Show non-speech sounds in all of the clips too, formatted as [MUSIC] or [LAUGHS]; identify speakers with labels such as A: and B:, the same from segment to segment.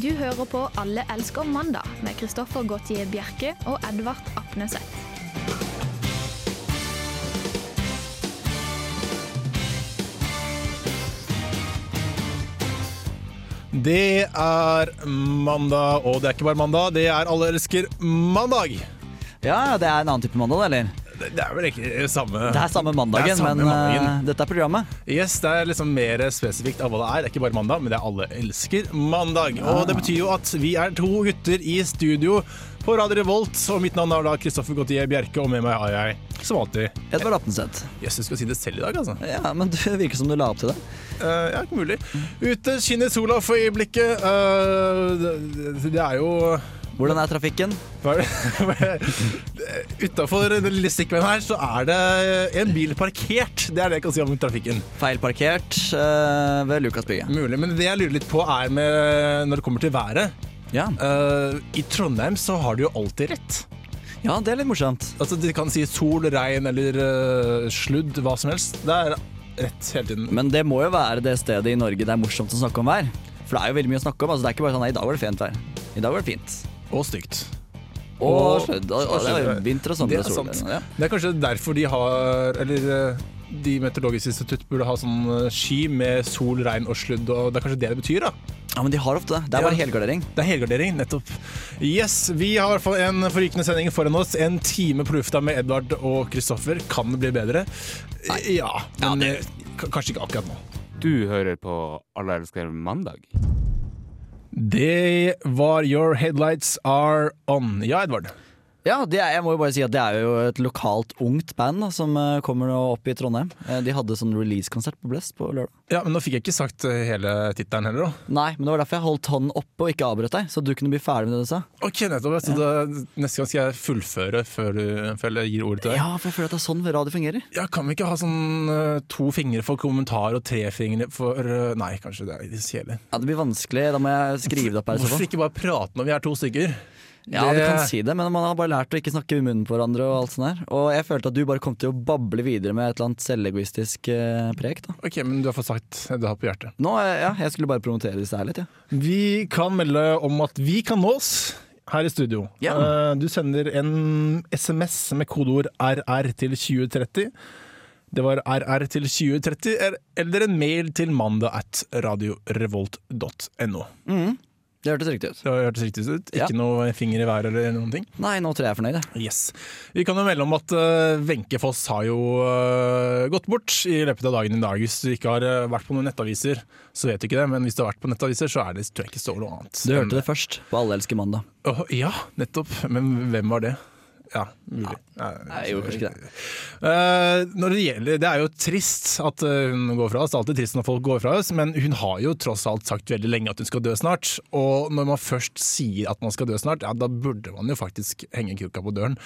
A: Du hører på Alle elsker mandag med Kristoffer Gautier Bjerke og Edvard Apneseth.
B: Det er mandag, og det er ikke bare mandag, det er Alle elsker mandag.
C: Ja, det er en annen type mandag, eller?
B: Det det er vel egentlig samme
C: Det er samme mandagen,
B: Det er samme
C: men
B: mandagen.
C: eh, dette er programmet.
B: Yes, det er liksom mer spesifikt av hva det er. Det er ikke bare mandag, men det er Alle elsker mandag. Og det betyr jo at vi er to gutter i studio på Radio Revolt, og mitt navn er da Kristoffer Gautier Bjerke, og med meg har jeg, som alltid
C: Edvard Apneseth.
B: Jøss, du skal si det selv i dag, altså.
C: Ja, men du virker som du la opp til det.
B: Eh, ja, ikke mulig. Ute skinner sola for øyeblikket. Eh, det, det er jo
C: Hvordan er trafikken?
B: [LAUGHS] Hva er det? Utafor den lille stikkveien her så er det en bil parkert. Det er det jeg kan si om trafikken.
C: Feilparkert eh, ved Lukasbygget.
B: Mulig, Men det jeg lurer litt på, er med når det kommer til været.
C: Ja.
B: Eh, I Trondheim så har de jo alltid rett.
C: ja, det er litt morsomt.
B: Altså De kan si sol, regn eller eh, sludd, hva som helst. Det er rett hele tiden.
C: Men det må jo være det stedet i Norge det er morsomt å snakke om vær. For det er jo veldig mye å snakke om. Altså, det er ikke bare sånn nei, i dag var det fint vær. I dag var det fint.
B: Og stygt.
C: Og, sludd, og, og det er jo vinter og
B: Det
C: sommer
B: er
C: og sol.
B: sant.
C: Ja.
B: Det er kanskje derfor de har Eller eh, de meteorologiske institutt burde ha sånn eh, sky med sol, regn og sludd. Og Det er kanskje det det betyr, da.
C: ja, men de har ofte det. Det er
B: Ja.
C: bare helgardering.
B: Det er helgardering, nettopp. Yes, Vi har i hvert fall en forrykende sending foran oss. En time på lufta med Edvard og Kristoffer. Kan det bli bedre? Ja, men eh, k- kanskje ikke akkurat nå.
D: Du hører på Alle elsker mandag.
B: Det var Your Headlights Are On. Ja, Edvard.
C: Ja, det er, jeg må jo bare si at det er jo et lokalt ungt band da, som eh, kommer nå opp i Trondheim. Eh, De hadde sånn release-konsert på Blest på lørdag.
B: Ja, men Nå fikk jeg ikke sagt eh, hele tittelen heller. da.
C: Nei, men det var derfor jeg holdt hånden oppe og ikke avbrøt deg, så du kunne bli ferdig med det du sa.
B: Ok, nettopp. Så da, neste gang skal jeg fullføre før, du, før jeg gir ordet til deg.
C: Ja, for jeg føler at det er sånn radio fungerer.
B: Ja, Kan vi ikke ha sånn eh, to fingre for kommentar og tre fingre for eh, Nei, kanskje det er litt kjedelig.
C: Ja, Det blir vanskelig. Da må jeg skrive det opp her. i så
B: Hvorfor
C: fall.
B: ikke bare prate når vi er to stykker?
C: [LAUGHS] Ja, du kan si det, men man har bare lært å ikke snakke i munnen på hverandre. Og alt sånt her. Og jeg følte at du bare kom til å bable videre med et eller annet selvegoistisk eh, preg. da.
B: Ok, men du har fått sagt det du har på hjertet.
C: Nå, eh, ja, Jeg skulle bare promotere disse her litt, ja.
B: Vi kan melde om at vi kan nås her i studio.
C: Ja.
B: Eh, Du sender en SMS med kodeord RR til 2030. Det var RR til 2030, er- eller en mail til mandag at radiorevolt.no.
C: Det hørtes riktig ut.
B: Det hørtes riktig ut.
C: Ja.
B: Ikke noe finger i været eller noen ting.
C: Nei, nå tror jeg jeg er fornøyd. jeg.
B: Yes. Vi kan jo melde om at eh, Wenche Foss har jo eh, gått bort i løpet av dagen i dag. Hvis du ikke har eh, vært på noen nettaviser, så vet du ikke det. Men hvis du har vært på nettaviser, så er det, tror jeg ikke det står noe annet.
C: Du hørte det først på Alle elsker mandag.
B: Åh, ja, nettopp. Men hvem var det? Ja, mulig. Nei,
C: Jeg gjorde kanskje ikke det.
B: Eh, når det gjelder Det er jo trist at eh, hun går fra oss. Det er alltid trist når folk går fra oss, men hun har jo tross alt sagt veldig lenge at hun skal dø snart. Og når man først sier at man skal dø snart, ja, da burde man jo faktisk henge kruka på døren.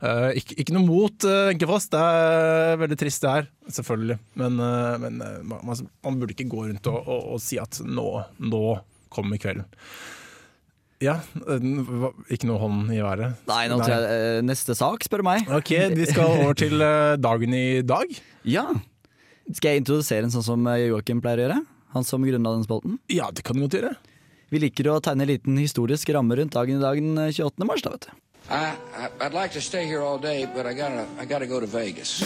B: Eh, ikke, ikke noe mot eh, Wenche Foss, det er veldig trist det her, selvfølgelig. Men, eh, men eh, man, man burde ikke gå rundt og, og, og si at nå, nå kommer kvelden. Ja, eh, hva- ikke noe hånd i været.
C: Nei, nå tror jeg eh, Neste sak, spør du meg.
B: Ok, vi skal over til eh, dagen i dag.
C: Ja. Skal jeg introdusere en sånn som eh, Joakim pleier å gjøre? Han som grunnla den spalten?
B: Ja, det kan du godt gjøre.
C: Vi liker å tegne en liten historisk ramme rundt dagen i dag den 28. mars, da, vet du.
E: I, I I'd like to stay here all day, but I gotta I gotta go to Vegas.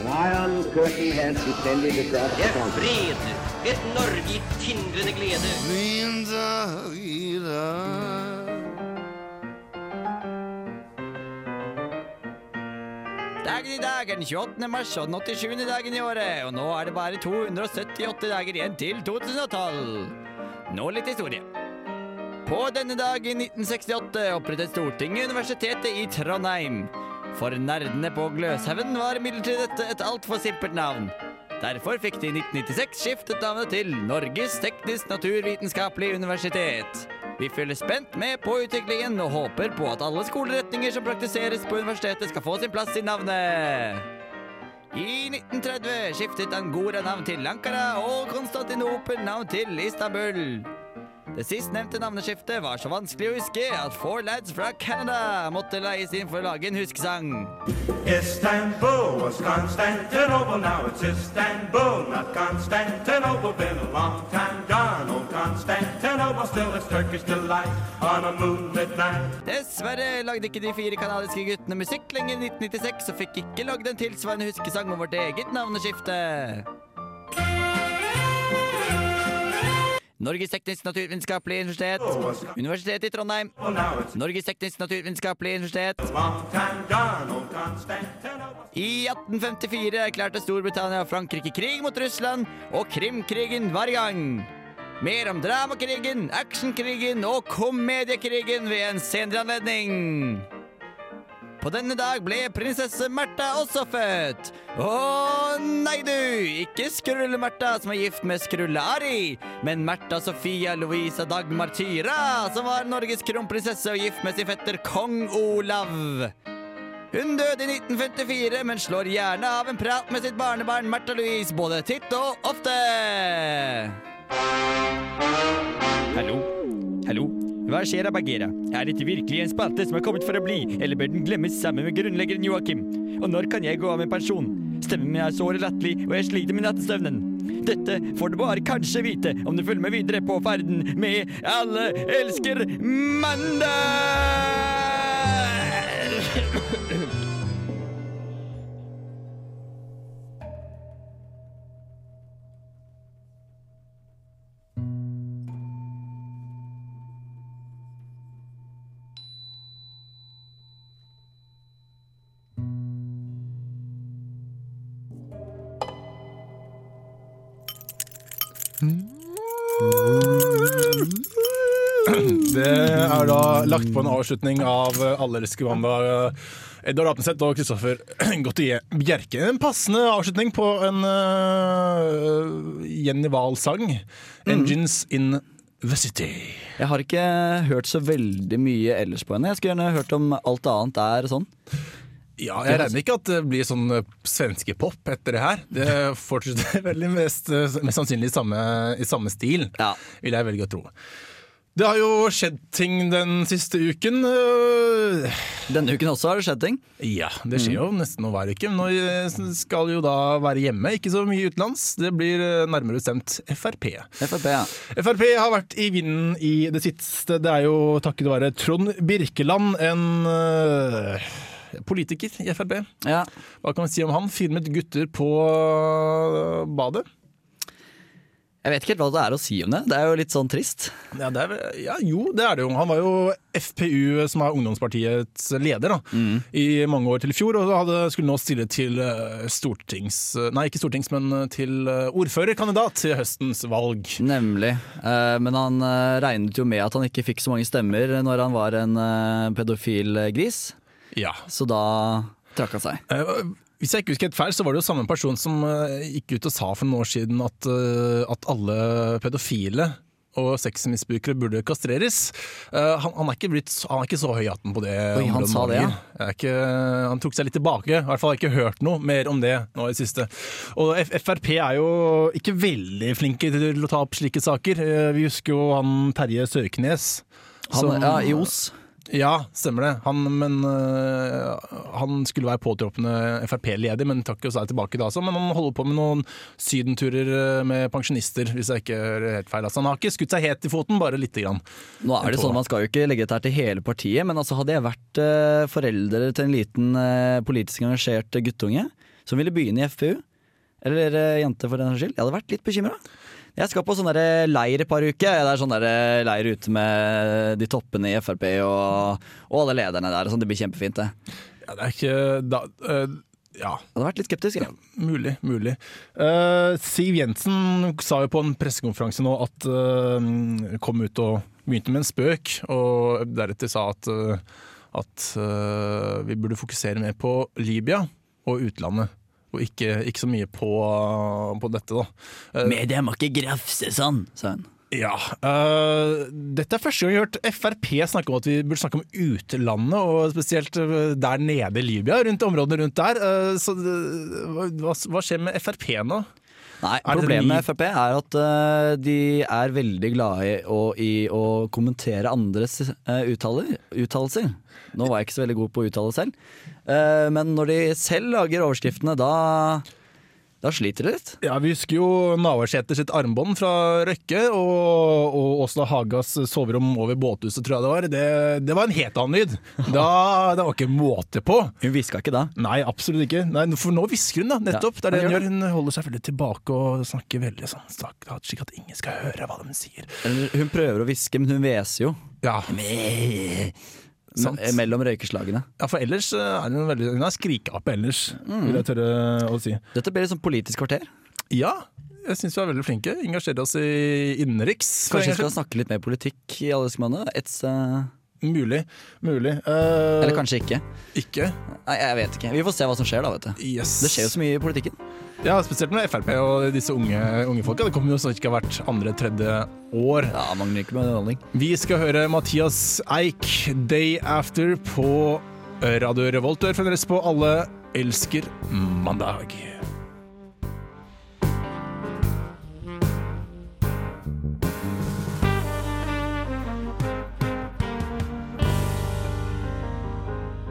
F: An iron curtain has descended across the country.
G: fred, et Norge i tindrende glede.
C: Dagen i dag er den 28. mars og den 87. dagen i året, og nå er det bare 278 dager igjen til 2012. Nå litt historie. På denne dag i 1968 opprettet Stortinget Universitetet i Trondheim. For nerdene på Gløshaugen var imidlertid dette et altfor simpelt navn. Derfor fikk de i 1996 skiftet navnet til Norges teknisk-naturvitenskapelige universitet. Vi følger spent med på utviklingen og håper på at alle skoleretninger som praktiseres på universitetet skal få sin plass i navnet. I 1930 skiftet Angora navn til Ankara og Konstantinopel navn til Istanbul. Det sistnevnte navneskiftet var så vanskelig å huske at Four Lads fra Canada måtte leies inn for å lage en huskesang.
H: Istanbul was Constantinople, now it's Istanbul, not Constantinople. Been a long time gone, old Constantinople, still it's Turkish delight on a moonlit night.
C: Dessverre lagde ikke de fire kanadiske guttene musikk lenger i 1996 og fikk ikke lagd en tilsvarende huskesang om vårt eget navneskifte. Norges teknisk naturvitenskapelige universitet, Universitetet i Trondheim. Norges teknisk naturvitenskapelige universitet. I 1854 erklærte Storbritannia og Frankrike krig mot Russland, og Krimkrigen var i gang. Mer om dramakrigen, actionkrigen og komediekrigen ved en senere anledning. På denne dag ble prinsesse Märtha også født. Å nei du! Ikke Skrulle-Märtha som er gift med Skrulle-Ari, men Märtha Sofia Louisa Dagmar Tyra, som var Norges kronprinsesse og gift med sin fetter kong Olav. Hun døde i 1954, men slår gjerne av en prat med sitt barnebarn Märtha Louise både titt og ofte. Hallo? Hallo? Hva skjer, Abagera? Er dette virkelig en spalte som er kommet for å bli, eller bør den glemmes sammen med grunnleggeren Joakim? Og når kan jeg gå av med pensjon? Stemmen min er såre latterlig, og jeg sliter med nattesøvnen. Dette får du bare kanskje vite om du følger med videre på ferden med Alle elsker mandag!
B: Det er da lagt på en avslutning av eh, Alle elsker Wanda. eh, Edvard Apenseth og [CLEARS THROAT] Kristoffer Gautier Bjerke. En passende avslutning på en eh, Jenny Wahl-sang. 'Engines in the City'.
C: Jeg har ikke hørt så veldig mye ellers på henne. Jeg skulle gjerne hørt om alt annet er sånn.
B: Ja, jeg regner ikke at det blir sånn eh, svenske pop etter det her. Det fortsetter [LAUGHS] veldig mest, eh, mest sannsynlig i samme, i samme stil,
C: Ja.
B: vil jeg velge å tro. Det har jo skjedd ting den siste uken. øh,
C: Denne uken også har det skjedd ting.
B: Ja, det skjer jo nesten noe hver uke. Men nå eh, skal jo da være hjemme, ikke så mye utenlands. Det blir eh, nærmere bestemt Frp.
C: Frp, ja.
B: Frp har vært i vinden i det siste. Det er jo takket være Trond Birkeland, en øh, politiker i Frp.
C: ja.
B: Hva kan vi si om han? Filmet gutter på øh, badet.
C: Jeg vet ikke helt hva det er å si om det. Det er jo litt sånn trist.
B: Ja, det er, vel- ja, jo, det er det jo. Han var jo FPU, som er ungdomspartiets leder, da, i mange år til i fjor. Og så hadde, skulle nå stille til øh, stortings... Nei, ikke stortings, men øh, til øh, ordførerkandidat til høstens valg.
C: Nemlig. Eh, Men han eh, regnet jo med at han ikke fikk så mange stemmer når han var en eh, pedofil eh, gris,
B: Ja.
C: så da trakk han seg.
B: Eh, Hvis jeg ikke husker helt feil, så var det jo samme person som eh, gikk ut og sa for noen år siden at, eh, at alle pedofile og sexmisbrukere burde kastreres. Eh, Han, han, er ikke blitt, så- han er ikke så høy i hatten på det.
C: Oi, han
B: området
C: sa
B: nå
C: det, ja.
B: lenger. Jeg er ikke, han tok seg litt tilbake. I hvert fall har jeg ikke hørt noe mer om det nå i det siste. Og F Frp er jo ikke veldig flinke til å ta opp slike saker. Eh, Vi husker jo han Terje Sørknes.
C: Han,
B: som-
C: ja, I Os.
B: ja, stemmer det. Han, men, øh, han skulle være påtroppende Frp-ledig, men takk og seg tilbake da også. Men han holder på med noen sydenturer øh, med pensjonister, hvis jeg ikke hører helt feil. Altså, han har ikke skutt seg helt i foten, bare lite grann.
C: Nå er det sånn, Man skal jo ikke legge dette her til hele partiet, men altså hadde jeg vært eh, forelder til en liten eh, politisk engasjert guttunge som ville begynne i FPU, eller eh, jente for den saks skyld, jeg hadde vært litt bekymra. Jeg skal på sånn der leir et par uker. Det er sånn der leir ute med de toppene i Frp og, og alle lederne der. og Sånn, det blir kjempefint, det.
B: Ja, det er ikke da, øh, Ja,
C: Jeg hadde vært litt skeptisk. jeg.
B: mulig, mulig. Eh, Siv Jensen sa jo på en pressekonferanse nå at øh, Kom ut og begynte med en spøk, og deretter sa at, øh, at øh, vi burde fokusere mer på Libya og utlandet. Og ikke, ikke så mye på, på dette, da. Eh,
C: Media må ikke grafse sånn, sa hun.
B: ja, øh, Dette er første gang jeg har hørt Frp snakke om at vi burde snakke om utlandet, og spesielt øh, der Eh, nede i Libya, rundt områdene rundt der. Øh, så det- hva, hva skjer med Frp nå?
C: Nei,
B: Er det
C: Problemet
B: ny-
C: med Frp er at eh, de er veldig glade i å, i å kommentere andres eh, uttaler, uttalelser. Nå var jeg ikke så veldig god på å uttale selv, Eh, men når de selv lager overskriftene, da, da sliter de litt.
B: Ja, Vi husker jo Navarsete sitt armbånd fra Røkke, og, og Åsla Hagas soverom over båthuset, tror jeg det var. Det, det var en helt annen lyd. Da, det var ikke måte på.
C: Hun hviska ikke da.
B: Nei, absolutt ikke. Nei, for nå hvisker hun, da. Nettopp.
C: Ja,
B: det er det hun
C: hun
B: gjør. Hun holder seg veldig tilbake og snakker veldig sånn stakk, slik at ingen skal høre hva de sier.
C: Eller, hun prøver å hviske, men hun hveser jo.
B: Ja,
C: Men-
B: sant.
C: Mellom røykeslagene.
B: ja for ellers er hun veldig Hun er skrikeape ellers, vil jeg tørre å si.
C: Dette blir litt sånn politisk kvarter.
B: Mm. Ja, jeg syns vi er veldig flinke. Engasjerer oss i innenriks. for
C: Kanskje vi
B: engasje-
C: skal snakke litt mer politikk i alle disse månedene? Ets, eh,
B: Mulig. Mulig. Eh,
C: eller kanskje ikke.
B: ikke.
C: Nei, jeg vet ikke. Vi får se hva som skjer, da. vet du
B: Yes.
C: Det skjer jo så mye i politikken.
B: Ja, Spesielt med Frp og disse unge, unge folka. Det kommer jo snart ikke hvert andre-tredje år.
C: Ja, Magne Nykke med underholdning.
B: Vi skal høre Mathias Eik, 'Day After', på Radio Revolt. Du hører fremdeles på Alle elsker mandag.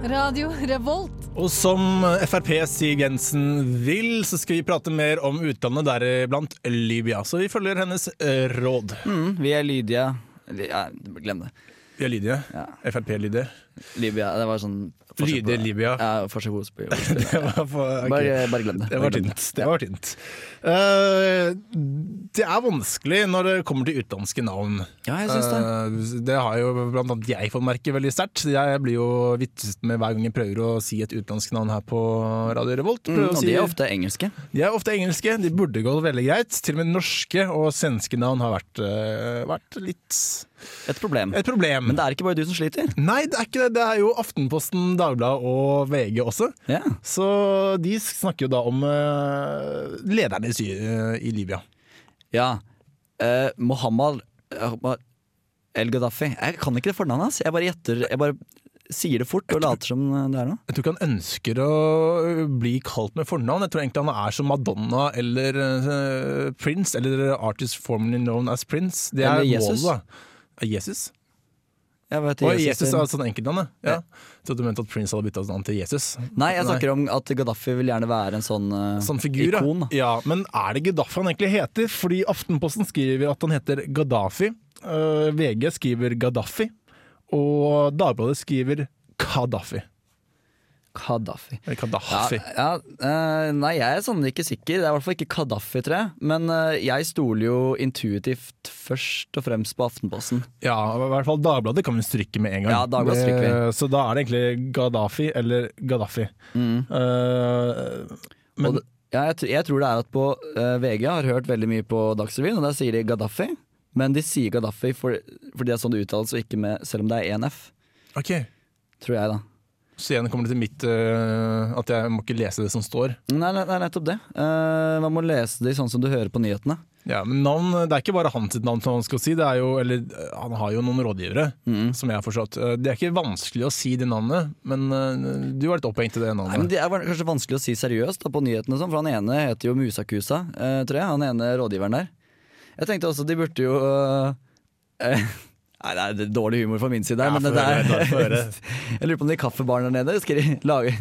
I: Radio Revolt.
B: Og som Frp Siv Jensen vil, så skal vi prate mer om utlandet, deriblant Libya. Så vi følger hennes eh, råd.
C: Mm, vi er lydige. Li- Ja, glem det.
B: Vi er lydige.
C: Ja.
B: Frp-lydige.
C: Lydia, det var sånn forsøk på-
B: Lydige Libya. [LAUGHS]
C: Ja, forsøk på ordspill.
B: Det var for- ok.
C: Bare, bare glem det.
B: Det var
C: Bare glem det.
B: tynt. [LAUGHS] Det, var tynt. Eh, det er vanskelig når det kommer til utenlandske navn.
C: Ja, jeg syns det.
B: Eh, det har jo blant annet jeg fått merke veldig sterkt. Jeg blir jo vitset med hver gang jeg prøver å si et utenlandsk navn her på Radio Revolt.
C: Mm,
B: Prøver å
C: og
B: si-
C: de er ofte engelske.
B: de er ofte engelske, de burde gå veldig greit. Til og med norske og svenske navn har vært, eh, vært litt
C: Et problem.
B: et problem.
C: Men det er ikke bare du som sliter.
B: Nei, det er ikke det. Det er jo Aftenposten, Dagbladet og VG også.
C: Ja.
B: Så de snakker jo da om eh, lederne i, Sy eh, i Libya.
C: ja. Eh, Mohammed Ahmad El Gaddafi. Jeg kan ikke det fornavnet hans. Jeg bare gjetter. Jeg bare sier det fort og later som eh, det er noe.
B: Jeg tror ikke han ønsker å eh, bli kalt med fornavn. Jeg tror egentlig han er som Madonna eller eh, Prince, eller artist formerly known as Prince. Det er
C: Eller
B: målet,
C: Jesus.
B: da. Er Jesus?
C: Jeg vet,
B: Og
C: Jesus-
B: Jesus er sånn enkeltnavn, ja. Jeg trodde du mente at Prince hadde bytta navn til Jesus.
C: Nei, jeg snakker om at Gaddafi vil gjerne være en sånn, eh,
B: Sånn figur,
C: ikon.
B: ja. ja. Men er det Gaddafi han egentlig heter? Fordi Aftenposten skriver at han heter Gaddafi. øh, VG skriver Gaddafi. Og Dagbladet skriver Kadafi.
C: Gaddafi.
B: Eller
C: Ja,
B: Kadafi.
C: ja, eh, nei, jeg er sånn ikke sikker. Det er i hvert fall ikke Kadafi, tror jeg. Men eh, jeg stoler jo intuitivt først og fremst på Aftenposten.
B: Ja, i hvert fall Dagbladet kan vi stryke med en gang.
C: Ja, Dagbladet
B: Det-
C: stryker
B: Så da er det egentlig Gaddafi eller Gaddafi. Øh, men
C: Mm. Og det- ja, jeg, tr- jeg tror det er at på eh, VG har hørt veldig mye på Dagsrevyen, og der sier de Gaddafi. Men de sier Gaddafi for, fordi det er sånn det uttales, og ikke med, selv om det er 1F.
B: OK,
C: Tror jeg, da.
B: så igjen kommer det til mitt øh, at jeg må ikke lese det som står.
C: Nei, nei, nei nettopp det. Eh, man må lese de sånn som du hører på nyhetene.
B: Ja, men navn, Det er ikke bare hans sitt navn som han skal si, det er jo, eller eh, han har jo noen rådgivere.
C: Mm.
B: Som jeg har forstått. Eh, Det er ikke vanskelig å si det navnet, men eh, du var litt opphengt i det
C: Nei, men
B: navnet.
C: Det er vel kanskje vanskelig å si seriøst da, på nyhetene, og sånn, for han ene heter jo Musakusa, eh, tror jeg. Han ene rådgiveren der. Jeg tenkte også de burde jo eh, [LAUGHS] eh, Nei, det er dårlig humor fra min side, her,
B: Ja,
C: men
B: få
C: det
B: høre, da, få
C: der
B: høre.
C: [LAUGHS] Jeg lurer på om de kaffebaren der nede skal de lage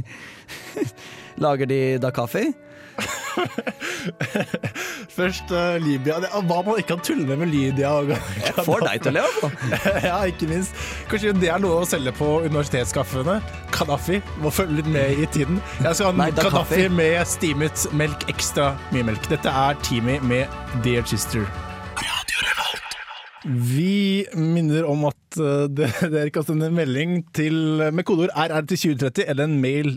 C: [LAUGHS] Lager de da kaffe?
B: Først eh, Libya. Det, ah, hva man ikke kan tulle med med Lydia og
C: Jeg får deg til å le, i hvert fall.
B: [LAUGHS] Ja, ikke minst. Kanskje det er noe å selge på universitetskaffene. Kadafi må følge litt med i tiden. Jeg skal ha
C: Nei,
B: en
C: da
B: Kadafi
C: kaffe.
B: med steamet melk, ekstra mye melk. Dette er Teamy med Dear Sister. Vi minner om at eh, det- [LAUGHS] dere kan sende en melding til, med kodeord RR til 2030 eller en mail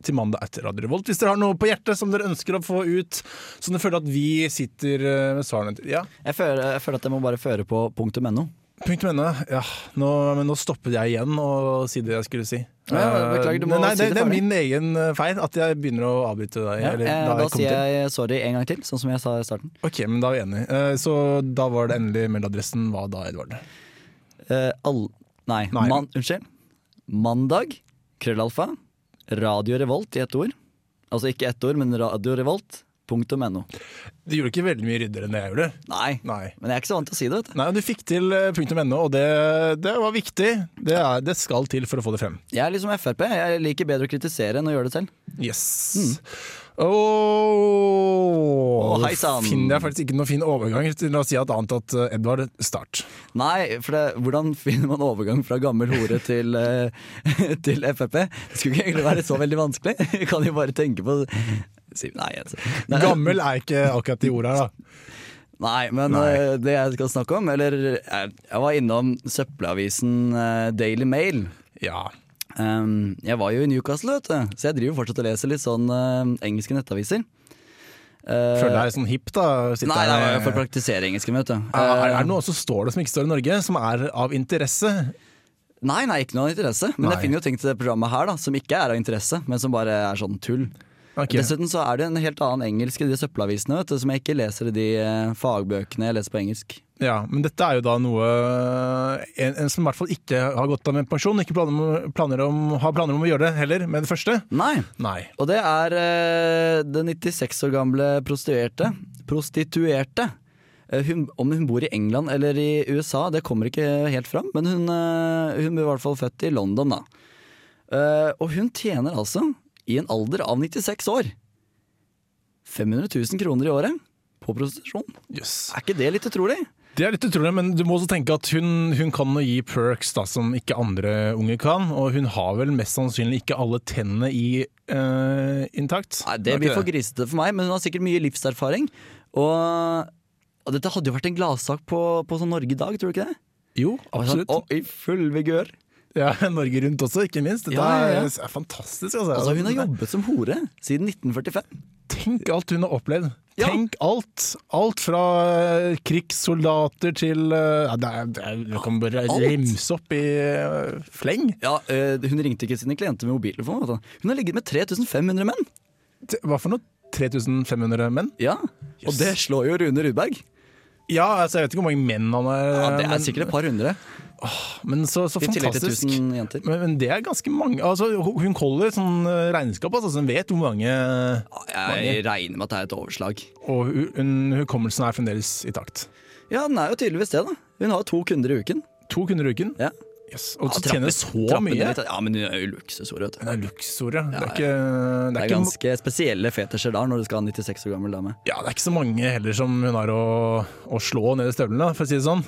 B: til mandag etter Radio Revolt. Hvis dere har noe på hjertet som dere ønsker å få ut, som dere føler at vi sitter eh, med svarene til. Ja?
C: Jeg føler, jeg føler at jeg må bare føre på punktum .no.
B: Punktum ene. Ja, nå, men nå stoppet jeg igjen å si det jeg skulle si.
C: Ja, beklager, du må
B: Eh, nei, det,
C: si det
B: det er
C: ferdig.
B: min egen eh, feil at jeg begynner å avbryte deg.
C: Ja,
B: eller
C: eh,
B: da
C: da
B: jeg kom
C: sier
B: til.
C: jeg sorry en gang til, sånn som jeg sa i starten.
B: Ok, men da er vi enige. Eh, Så da var det endelig mailadressen hva da, Edvard?
C: Eh, all, nei,
B: Nei.
C: Man, unnskyld. Mandag, krøllalfa, Radio Revolt i ett ord. Altså ikke ett ord, men Radio Revolt. .no.
B: Du gjorde ikke veldig mye ryddere enn det jeg gjorde.
C: Nei.
B: Nei.
C: Men jeg er ikke så vant til å si det. vet du
B: Nei, du fikk til eh, punktum .no, og det, det var viktig. Det, er, det skal til for å få det frem.
C: Jeg er liksom Frp. Jeg liker bedre å kritisere enn å gjøre det selv.
B: Yes.
C: Å,
B: Åh,
C: Mm. hei sann.
B: finner jeg faktisk ikke noen fin overgang. La oss si at annet at eh, Edvard start.
C: Nei, for det, hvordan [LAUGHS] finner man overgang fra gammel hore til, eh, [LAUGHS] til Frp? Det skulle ikke egentlig være så veldig vanskelig. [LAUGHS] Jeg kan jo bare tenke på si- Nei, altså. nei,
B: Gammel er ikke akkurat de ordene her, da.
C: nei men
B: Nei.
C: eh, det jeg skal snakke om Eller eh, jeg var innom søppelavisen eh, Daily Mail.
B: Ja.
C: Um, jeg var jo i Newcastle, vet du, så jeg driver fortsatt og leser litt sånn eh, engelske nettaviser. Eh,
B: Føler deg sånn hipp, da. sitter
C: Nei, nei,
B: her. eh,
C: for å praktisere engelsken, vet du.
B: er, er
C: Eh,
B: det noe som står det som ikke står i Norge, som er av interesse?
C: Eh, Nei, nei, ikke noe av interesse. Men
B: Nei.
C: jeg finner jo ting til det programmet her da, som ikke er av interesse, men som bare er sånn tull.
B: Ok.
C: Dessuten så er det en helt annen engelsk i de søppelavisene, vet du, som jeg ikke leser i de eh, fagbøkene jeg leser på engelsk.
B: Ja, men dette er jo da noe en, en som i hvert fall ikke har gått av med pensjon, ikke planer om, planer om, har planer om å gjøre det heller med det første.
C: Nei.
B: Nei.
C: Og det er eh, den 96 år gamle prostituerte. Prostituerte. Eh, Hun, om hun bor i England eller i USA, det kommer ikke helt fram, men hun, eh, hun ble i hvert fall født i London, da. Eh, og hun tjener altså, i en alder av 96 år, 500 000 kroner i året på prostitusjon.
B: Jøss.
C: Er ikke det litt utrolig?
B: Det er litt utrolig, men du må også tenke at hun, hun kan å gi perks da, som ikke andre unge kan, og hun har vel mest sannsynlig ikke alle tennene i eh, intakt.
C: Nei, Det
B: Er
C: blir
B: ikke
C: for grisete for meg, men hun har sikkert mye livserfaring. Og, og dette hadde jo vært en gladsak på, på sånn Norge i dag, tror du ikke det?
B: Jo,
C: Og sånn,
B: absolutt.
C: og i full vigør.
B: Ja, [LAUGHS] Norge Rundt også, ikke minst. Dette
C: Ja, ja, ja.
B: er- er fantastisk. Altså.
C: Altså, hun har jobbet som hore siden 1945.
B: Tenk alt hun har opplevd.
C: Ja.
B: Tenk alt! Alt fra eh, krigssoldater til eh, ja, det er, det er, Du kan bare
C: Alt.
B: remse opp i eh, fleng.
C: Ja, eh, Hun ringte ikke sine klienter med mobiltelefon. vet du. Hun har ligget med 3500 menn!
B: T- Hva for noe? 3500 menn?
C: Ja, Og det slår jo Rune Rudberg.
B: Ja, altså, jeg vet ikke hvor mange menn han er.
C: Ja, Det er
B: men-
C: sikkert et par hundre.
B: Men så, så
C: I tillegg til
B: fantastisk.
C: 1000 jenter.
B: Men, men det er ganske mange. Altså, hun- hun holder sånn eh, regnskap, altså, så hun vet hvor mange
C: Jeg regner med at det er et overslag.
B: Og hu- hun- hukommelsen er fremdeles i takt.
C: Ja, den er jo tydeligvis det, da. Hun har to kunder i uken.
B: To kunder i uken.
C: Ja.
B: Yes. Og
C: Ja,
B: så
C: trappe-
B: tjener så
C: trappe
B: mye.
C: ned
B: Det
C: litt. Ja, men hun er jo luksushore, vet du.
B: er luksor, ja. Det
C: Ja,
B: er ikke, det
C: Det
B: er
C: er
B: ikke
C: ganske spesielle fetisjer der når du skal ha en 96 år gammel dame.
B: Ja, det er ikke så mange heller som hun har å, å slå ned i støvlene, for å si det sånn.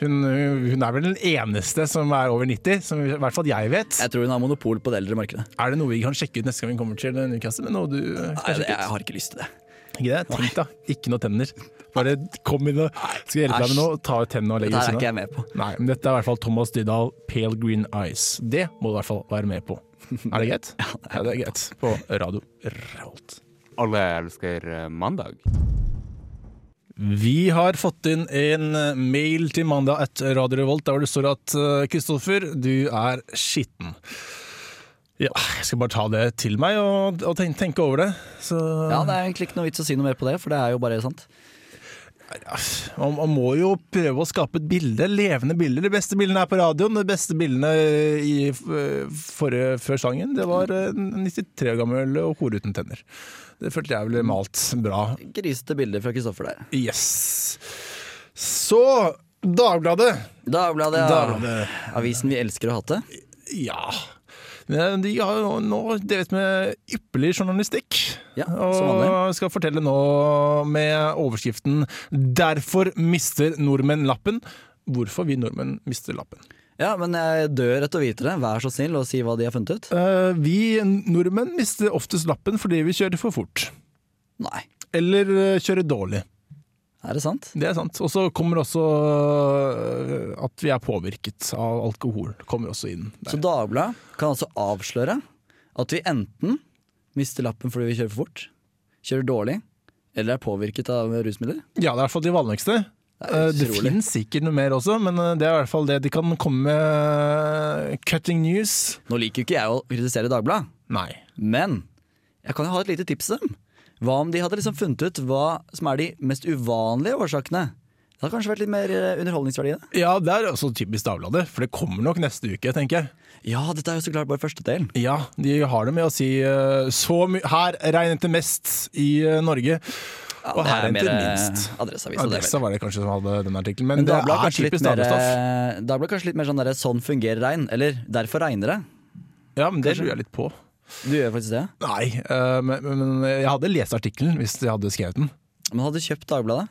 B: Hun, hun er vel den eneste som er over 90, som i hvert fall jeg vet.
C: Jeg tror hun har monopol på det eldre markedet.
B: Er det noe vi kan sjekke ut neste gang vi kommer til Newcastle? Men noe du kan
C: Nei, det,
B: sjekke
C: jeg
B: ut?
C: har ikke lyst til det.
B: Ikke det? Tenk da, ikke noe tenner. Bare kom inn og skal jeg hjelpe deg med noe, ta ut tennene og legge
C: Dette
B: ved
C: her er ikke
B: siden av.
C: jeg med på.
B: Nei, men dette er i hvert fall Thomas Dydal, Pale Green Eyes. Det må du i hvert fall være med på. Er det
C: [LAUGHS]
B: greit? Ja, det er greit. På radio Revolt.
D: Alle elsker eh, mandag.
B: Vi har fått inn en eh, mail til mandag at Radio Revolt, der hvor det står at eh, Kristoffer, du er skitten. Ja, jeg skal bare ta det til meg og, og tenke, tenke over det. Så,
C: Ja, Det er egentlig ikke noe vits å si noe mer på det, for det er jo bare sant.
B: man, man må jo prøve å skape et bilde, levende bilder. De beste bildene er på radioen, de beste bildene i, eh, forrige, før sangen. Det var eh, en 93 år gammel og hore uten tenner. Det følte jeg ble malt bra
C: Grisete bilder fra Kristoffer der.
B: Yes. Så Dagbladet.
C: Dagbladet, ja.
B: Dagbladet.
C: avisen vi elsker å hate.
B: Ja. Men De har jo nå drevet med ypperlig journalistikk.
C: Ja, som
B: og
C: vanlig.
B: skal fortelle nå med overskriften 'Derfor mister nordmenn lappen'. Hvorfor vi nordmenn mister lappen.
C: Ja, men jeg dør etter å vite det. Vær så snill og si hva de har funnet ut.
B: Eh, Vi nordmenn mister oftest lappen fordi vi kjører for fort.
C: Nei,
B: Eller eh, kjører dårlig.
C: er det sant?
B: Det er sant. Og så kommer også eh, at vi er påvirket av alkohol. Kommer også inn der.
C: Så Dagbladet kan altså avsløre at vi enten mister lappen fordi vi kjører for fort, kjører dårlig, eller er påvirket av rusmidler.
B: Ja, det er i hvert fall de vanligste.
C: Det
B: Eh,
C: er
B: Det
C: utrolig.
B: finnes sikkert noe mer også, men eh, det er i hvert fall det de kan komme med. eh, Cutting news?
C: Nå liker jo ikke jeg å kritisere Dagbladet,
B: Nei.
C: men jeg kan jo ha et lite tips til dem. Hva om de hadde liksom funnet ut hva som er de mest uvanlige årsakene Det hadde kanskje vært litt mer eh, underholdningsverdi i det.
B: Ja, det er også typisk Dagbladet, for det kommer nok neste uke, tenker jeg.
C: Ja, dette er jo så klart bare første delen.
B: Ja, de har det med å si eh, så mye Her regnet det mest i eh, Norge. og
C: det
B: her
C: er
B: regnet det
C: mer, eh,
B: minst.
C: Adresseavisa, det er
B: Adressa var det kanskje som hadde den artikkelen, men,
C: Men
B: det
C: Dagbladet
B: er
C: kanskje litt
B: typisk
C: mer,
B: Dagbladet-stoff.
C: eh, Dagbladet kanskje litt mer sånn derre 'sånn fungerer regn', eller 'derfor regner det'.
B: Ja, men det lurer jeg litt på.
C: Du gjør faktisk det.
B: Nei, eh, men, men jeg hadde lest artikkelen hvis jeg hadde skrevet den.
C: Men hadde du kjøpt Dagbladet?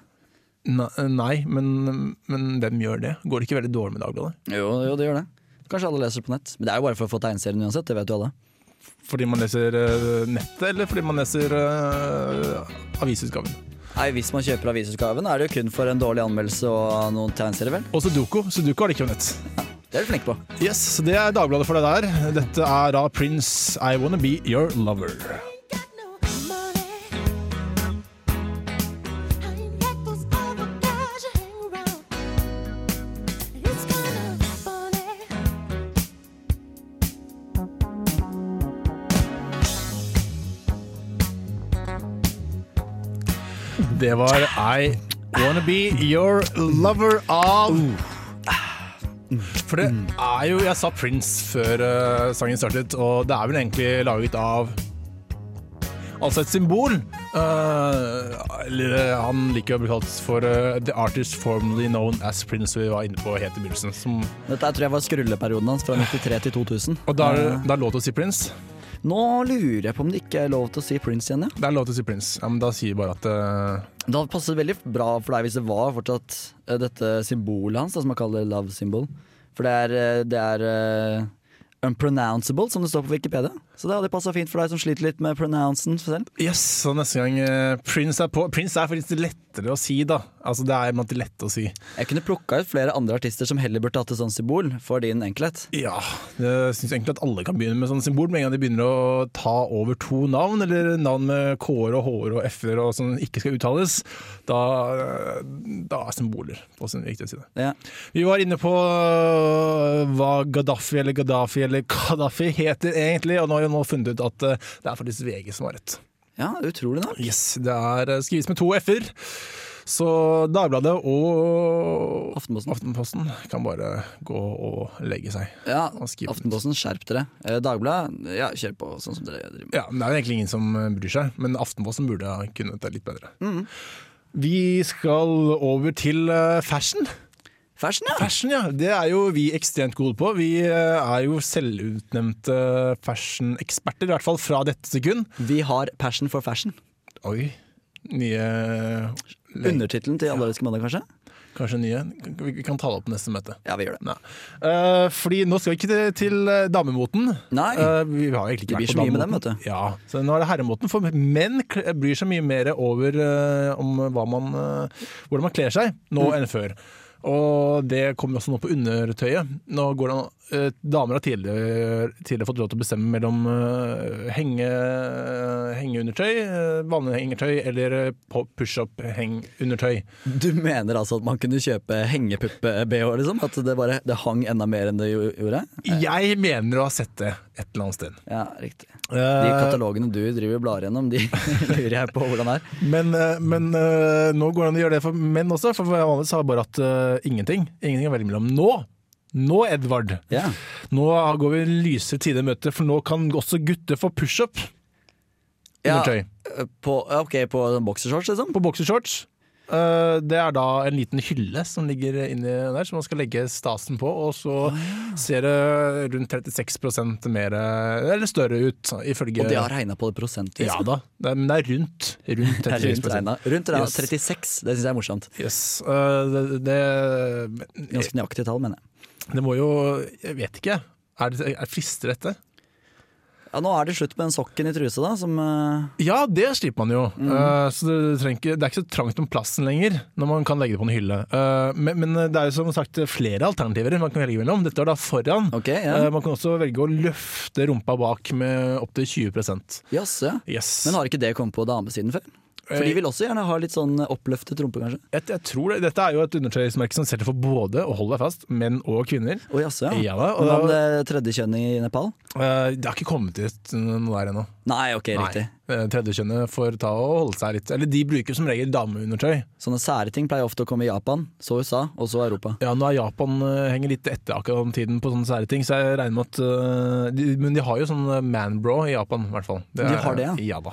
B: Ne- Nei, men, men hvem gjør det? Går det ikke veldig dårlig med Dagbladet?
C: Jo, jo, det gjør det. Kanskje alle leser det på nett. Men det er jo bare for å få tegneserien uansett, det vet jo alle.
B: Fordi man leser eh, nettet, eller fordi man leser eh, avisutgaven?
C: Nei, Hvis man kjøper avisutgaven, er det jo kun for en dårlig anmeldelse og noen tegneserier, vel?
B: Og Sudoku. Sudoku har det ikke på nett.
C: Det er du flink på.
B: Yes, så det er Dagbladet for deg der. Dette er da Prince I Wanna Be Your Lover. Det var I Wanna Be Your Lover av For det er jo Jeg sa Prince før eh, sangen startet, og det er vel egentlig laget av Altså et symbol. eh, eller eh, han liker å bli kalt for eh, The Artist Formerly Known As Prince, som vi var inne på helt i begynnelsen. Som,
C: Dette her tror jeg var skrulleperioden hans, fra 93 til 2000.
B: og da er det- det er lov til å si Prince.
C: Nå lurer jeg på om det ikke er lov til å si Prince igjen, ja.
B: Det er lov til å si Prince. Ja, men da sier vi bare at eh,
C: Det hadde passet veldig bra for deg hvis det var fortsatt eh, dette symbolet hans, da, som man kaller love symbol. For det er, eh, det er eh, unpronounceable, som det står på Wikipedia. Så det hadde passa fint for deg som sliter litt med pronouncen selv.
B: Yes, så neste gang eh, Prince er på. Prince er faktisk lettere å si, da. Altså Det er blant de lette å si.
C: Jeg kunne plukka ut flere andre artister som heller burde hatt et sånt symbol, for din enkelhet.
B: Ja, jeg syns egentlig at alle kan begynne med sånn symbol, med en gang de begynner å ta over to navn, eller navn med k-er og h-er og f-er og som ikke skal uttales, da, eh, da er symboler på sin viktige side.
C: Ja.
B: Vi var inne på øh, hva Gaddafi eller Gaddafi eller Gaddafi heter egentlig, og nå har vi nå funnet ut at eh, det er faktisk VG som har rett.
C: Ja, utrolig nok.
B: Yes, det er eh, skrives med to f-er. Så Dagbladet og
C: Aftenposten.
B: Aftenposten kan bare gå og legge seg.
C: Ja,
B: Og skriv på nytt.
C: Aftenposten, skjerp dere. Eh, Dagbladet, ja, kjør på sånn som dere driver med.
B: Ja, men Det er jo egentlig ingen som eh, bryr seg, men Aftenposten burde ha kunnet det litt bedre.
C: Mm.
B: Vi skal over til eh, fashion.
C: Fashion, ja!
B: Fashion, ja. Det er jo vi ekstremt gode på. Vi eh, er jo selvutnevnte fashioneksperter, i hvert fall fra dette sekund.
C: Vi har passion for fashion.
B: Oi. Nye le-
C: Undertittelen til Allerske mandag, kanskje?
B: Kanskje nye. Vi vi kan ta det opp på neste møte.
C: Ja, vi gjør det.
B: Nei. Eh, fordi nå skal vi ikke til- til eh, damemoten.
C: Nei.
B: Eh, vi har egentlig ikke
C: Det blir
B: vært
C: så
B: på
C: mye med
B: damemoten.
C: dem, vet du.
B: Ja, så nå er det herremoten, for menn kl- eh, bryr seg mye mer over eh, om hva man, eh, hvordan man kler seg nå
C: Mm.
B: enn før. Og det kommer også nå på undertøyet. Nå går det, an- eh, damer har tidligere, tidligere fått lov til å bestemme mellom eh, henge, hengeundertøy, eh, vanlig hengetøy eller eh, på pushup-hengeundertøy.
C: Du mener altså at man kunne kjøpe hengepuppe-BH, liksom? At det bare det hang enda mer enn det jo- gjorde?
B: Jeg mener å ha sett det et eller annet sted.
C: Ja, riktig. Eh, De katalogene du driver og blar gjennom, de [LAUGHS] lurer jeg på hvordan er.
B: Men, eh, men eh, nå går det an å gjøre det for menn også, for vanligvis har jeg bare hatt eh, ingenting. Ingenting å velge mellom. Nå, nå Edvard,
C: Ja.
B: nå går vi lyse tider i møte, for nå kan også gutter få pushup.
C: Ja, eh,
B: Undertøy.
C: På, ok, på boksershorts, liksom?
B: På boksershorts. Eh, Det er da en liten hylle som ligger inni der, som man skal legge stasen på. Og så
C: Ah.
B: ser det rundt 36 mer eh, eller større ut, ifølge
C: Og de har regna på det prosentvis.
B: Ja da, det er, men det er rundt. Rundt
C: [LAUGHS] Det er
B: 36
C: Rundt regna. Rundt regna
B: Yes.
C: 36, det syns jeg er morsomt.
B: Yes. eh, det, det,
C: Ganske nøyaktig tall, mener jeg.
B: Det må jo Jeg vet ikke. Er det er frister dette?
C: Ja, Nå er det slutt med den sokken i truse, da. Som, eh,
B: Ja, det slipper man jo. Eh, så det, trenger ikke, det er ikke så trangt om plassen lenger, når man kan legge det på en hylle. Eh, men, men det er jo som sagt flere alternativer man kan velge mellom. Dette er da foran.
C: Ok, ja.
B: Eh, man kan også velge å løfte rumpa bak med opptil 20
C: Jaså, Eh, ja.
B: Yes.
C: Men har ikke det kommet på damesiden før? For de vil også gjerne ha litt sånn oppløftet rumpe, kanskje.
B: jeg, jeg tror det, Dette er jo et undertøysmerke som selger for både, og hold deg fast, menn og kvinner.
C: Å jaså,
B: Ja
C: ja.
B: da, og
C: Men om
B: da-
C: det tredje kjønn i Nepal?
B: Eh, det har ikke kommet ut noe der ennå.
C: Nei, ok,
B: Nei.
C: riktig.
B: Eh, eh, tredjekjønnet får ta og holde seg litt. Eller de bruker som regel dameundertøy.
C: Sånne sære ting pleier ofte å komme i Japan, så USA, og så Europa.
B: Ja, nå er Japan eh, henger litt etter akkurat om tiden på sånne sære ting, så jeg regner med at eh, de, Men de har jo sånn manbro i Japan, i hvert fall. Det
C: De
B: er-
C: har det, ja.
B: ja da.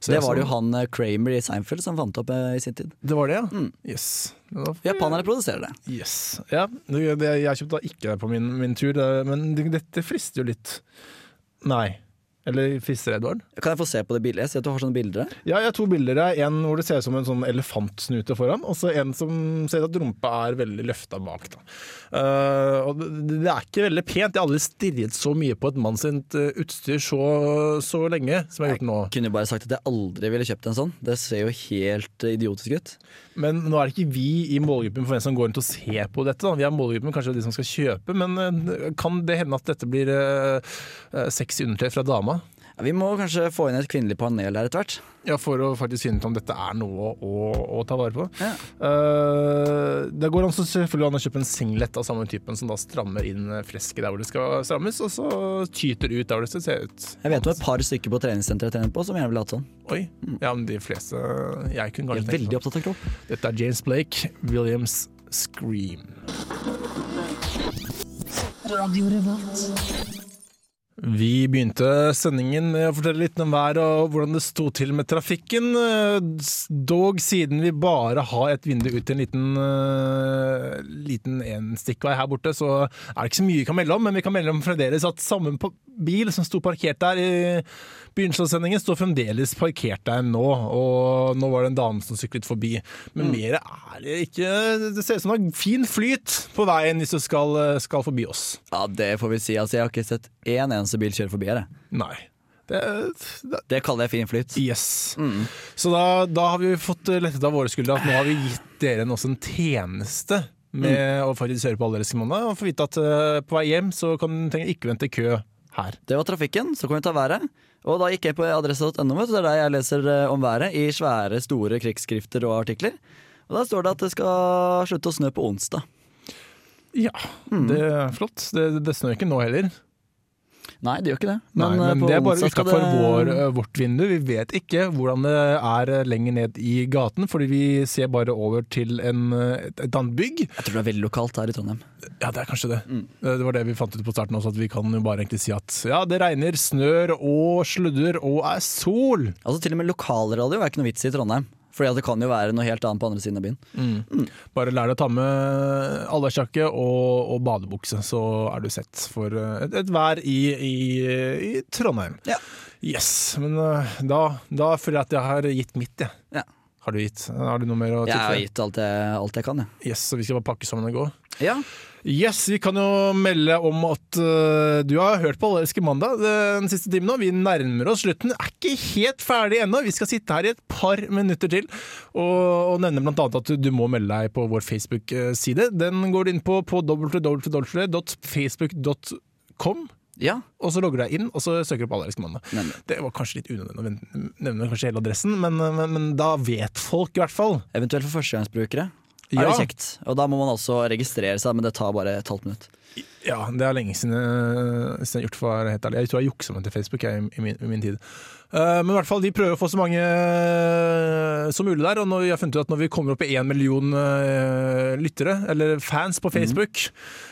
B: Så
C: Det
B: er
C: var det
B: sånn-
C: jo han eh, Kramer i Seinfeld som fant opp eh, i sin tid.
B: Det var det, ja?
C: Mm.
B: Yes. Ja,
C: Japanere produserer det.
B: Yes. Ja, det, det, jeg kjøpte da ikke det på min, min tur, det- men det- dette frister jo litt. Nei. Eller frister det, Edvard?
C: Kan jeg få se på det bildet? Jeg ser at du har sånne bilder. her.
B: Ja, jeg har to bilder her. En hvor det ser ut som en sånn elefantsnute foran, og så en som ser ut at rumpa er veldig løfta bak. Da. Eh, og det, det er ikke veldig pent. Jeg har aldri stirret så mye på et mann sitt eh, utstyr så, så lenge som jeg har gjort nå.
C: Kunne jo bare sagt at jeg aldri ville kjøpt en sånn. Det ser jo helt eh, idiotisk ut.
B: Men nå er det ikke vi i målgruppen for hvem som går rundt og ser på dette. Da. Vi er målgruppen kanskje de som skal kjøpe, men eh, kan det hende at dette blir eh, eh, sexy undertøy fra dama?
C: Ja, vi må kanskje få inn et kvinnelig panel her etter hvert.
B: Ja, For å faktisk finne ut om dette er noe å, å ta vare på.
C: Ja.
B: Eh, det går også selvfølgelig an å kjøpe en singlet av samme typen som da strammer inn flesket der hvor det skal strammes, og så tyter ut der hvor det skal se ut.
C: Jeg vet om et par stykker på treningssenteret jeg trener på som gjerne ville hatt sånn.
B: Oi. Ja, men de fleste Jeg kunne
C: De er
B: kanskje
C: veldig
B: tenkt
C: opptatt av kropp.
B: sånn. Dette er James Blake, Williams Scream.
I: Radio Revolt.
B: Vi begynte sendingen med å fortelle litt om været og hvordan det sto til med trafikken. eh, Dog siden vi bare har et vindu ut til en liten, eh, liten enstikkvei her borte, så er det ikke så mye vi kan melde om, men vi kan melde om fremdeles at samme pa- bil som sto parkert der i begynnelsen av sendingen, står fremdeles parkert der nå. Og nå var det en dame som syklet forbi. Men mer er det ikke. Det ser ut som det er fin flyt på veien hvis du skal, eh, skal forbi oss.
C: Ja, det får vi si. Altså, jeg har ikke sett én eneste bil kjøre forbi her. jeg.
B: Nei. Det, det
C: Det kaller jeg fin flyt.
B: Yes. Så da, da har vi fått eh, lettet av våre skuldre at nå har vi gitt dere en, også en tjeneste med å faktisk høre på alle deres måneder og få vite at eh, på vei hjem så kan trenger dere ikke vente i kø her.
C: Det var trafikken, så kan vi ta været. Og da gikk jeg på adresse.no, vet du, det er der jeg leser eh, om været i svære, store krigsskrifter og artikler. Og der står det at det skal slutte å snø på onsdag.
B: Ja, det er flott. Det, det snør ikke nå heller.
C: Nei, det gjør ikke det.
B: Men, Nei,
C: eh,
B: men
C: på
B: det er bare
C: onsdag skal
B: utenfor
C: det-
B: vår, eh, vårt vindu. Vi vet ikke hvordan det er eh, lenger ned i gaten, fordi vi ser bare over til en, eh, et, et annet bygg.
C: Jeg tror det er veldig lokalt her i Trondheim.
B: Ja, det er kanskje det.
C: Mm.
B: Det det var det vi fant ut på starten også, at vi kan jo bare egentlig si at ja, det regner, snør og sludder og er sol.
C: Altså Til og med lokalradio er ikke noe vits i Trondheim. Fordi at det kan jo være noe helt annet på andre siden av byen.
B: Bare lær deg å ta med allværsjakke og, og badebukse, så er du sett for eh, et, et vær i, i, i Trondheim.
C: Ja.
B: Yes, men eh, da, da føler jeg at jeg har gitt mitt, jeg.
C: Ja.
B: Har du gitt? Har du noe mer å
C: Jeg har
B: tilføye?
C: gitt alt jeg, alt jeg kan, jeg.
B: Yes, så vi skal bare pakke sammen og gå.
C: Ja.
B: Yes, vi kan jo melde om at øh, du har hørt på Allerske mandag den siste timen nå. Vi nærmer oss slutten. Er ikke helt ferdig ennå. Vi skal sitte her i et par minutter til og, og nevne bl.a. at du må melde deg på vår Facebook-side. Den går du inn på på www.facebook.com.
C: ja.
B: Og så logger du deg inn og så søker du på Allerske mandag. Det var kanskje litt unødvendig å ven- nevne kanskje hele adressen, men, men, men da vet folk i hvert fall.
C: Eventuelt for førstegangsbrukere. Er
B: Ja.
C: det kjekt. Og da må man også registrere seg, men det tar bare et halvt minutt.
B: Ja, det er lenge siden, eh, siden jeg har gjort for å være helt ærlig. Jeg tror jeg juksa meg til Facebook jeg, i, min, i min tid. Eh, men i hvert fall, de prøver å få så mange eh, som mulig der. Og når vi har funnet ut at når vi kommer opp i én million eh, lyttere, eller fans på Facebook,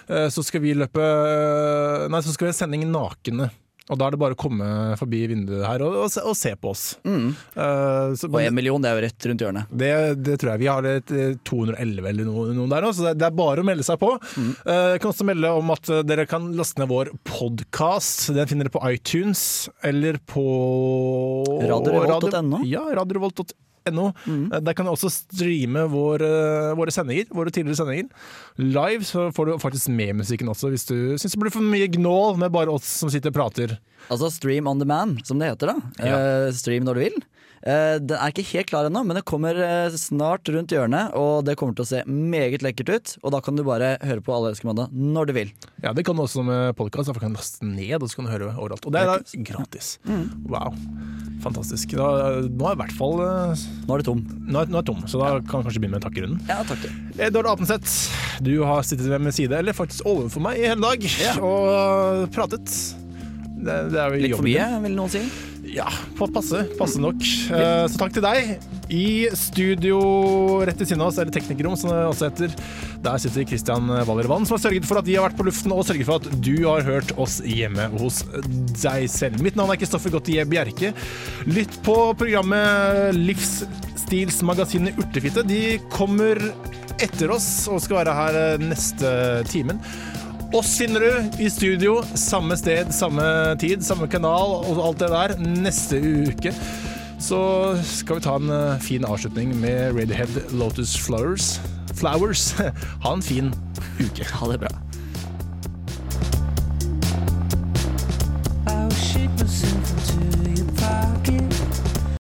B: eh, så skal vi løpe eh, Nei, så skal vi ha sending nakne. Og da er det bare å komme forbi vinduet her og, og, se, og se på oss. Eh, så,
C: Og én million, det er jo rett rundt hjørnet.
B: det, det tror jeg. Vi har et eh, 211 eller noe, noen der nå, så det, det er bare å melde seg på. Eh, Jeg kan også melde om at eh, dere kan laste ned vår podkast. Den finner dere på iTunes eller på
C: Radiorevolt.no.
B: Ja, radiorevolt.no. Eh, Der kan du også streame vår, eh, våre sendinger, våre tidligere sendinger. Live så får du faktisk med musikken også, hvis du syns det blir for mye gnål med bare oss som sitter og prater.
C: Altså stream on demand, som det heter da. Eh, stream når du vil. Eh, den er ikke helt klar ennå, men det kommer eh, snart rundt hjørnet, og det kommer til å se meget lekkert ut. Og da kan du bare høre på Alle elsker mandag når du vil.
B: Ja, det kan du også med podkast. Du kan du laste den ned og så kan du høre overalt. Og det er da gratis.
C: Mm.
B: Wow. Fantastisk. Da, nå er jeg i hvert fall eh,
C: Nå er det tom.
B: Nå er nå er jeg tom, så da kan jeg kanskje begynne med takkerunden.
C: Ja, takk du.
B: Edvard Apenseth, du har sittet ved min side, eller faktisk overfor meg, i hele dag og pratet. Det, det er jo
C: Litt
B: jobben
C: for mye, vil noen si.
B: din. Ja, på- passe. Passe nok. Eh, Så takk til deg. I studio rett ved siden av oss, eller teknikerrom som det også heter, der sitter Christian Waller Vann, som har sørget for at de har vært på luften, og sørget for at du har hørt oss hjemme hos deg selv. Mitt navn er Kristoffer Gottier Bjerke. Lytt på programmet Livsstilsmagasinet Urtefitte. De kommer etter oss og skal være her eh, neste timen. Oss finner du i studio, samme sted, samme tid, samme kanal og alt det der neste uke. Så skal vi ta en eh, fin avslutning med Radiohead Lotus Flowers. Flowers. [LAUGHS] Ha en fin uke.
C: Ha det bra.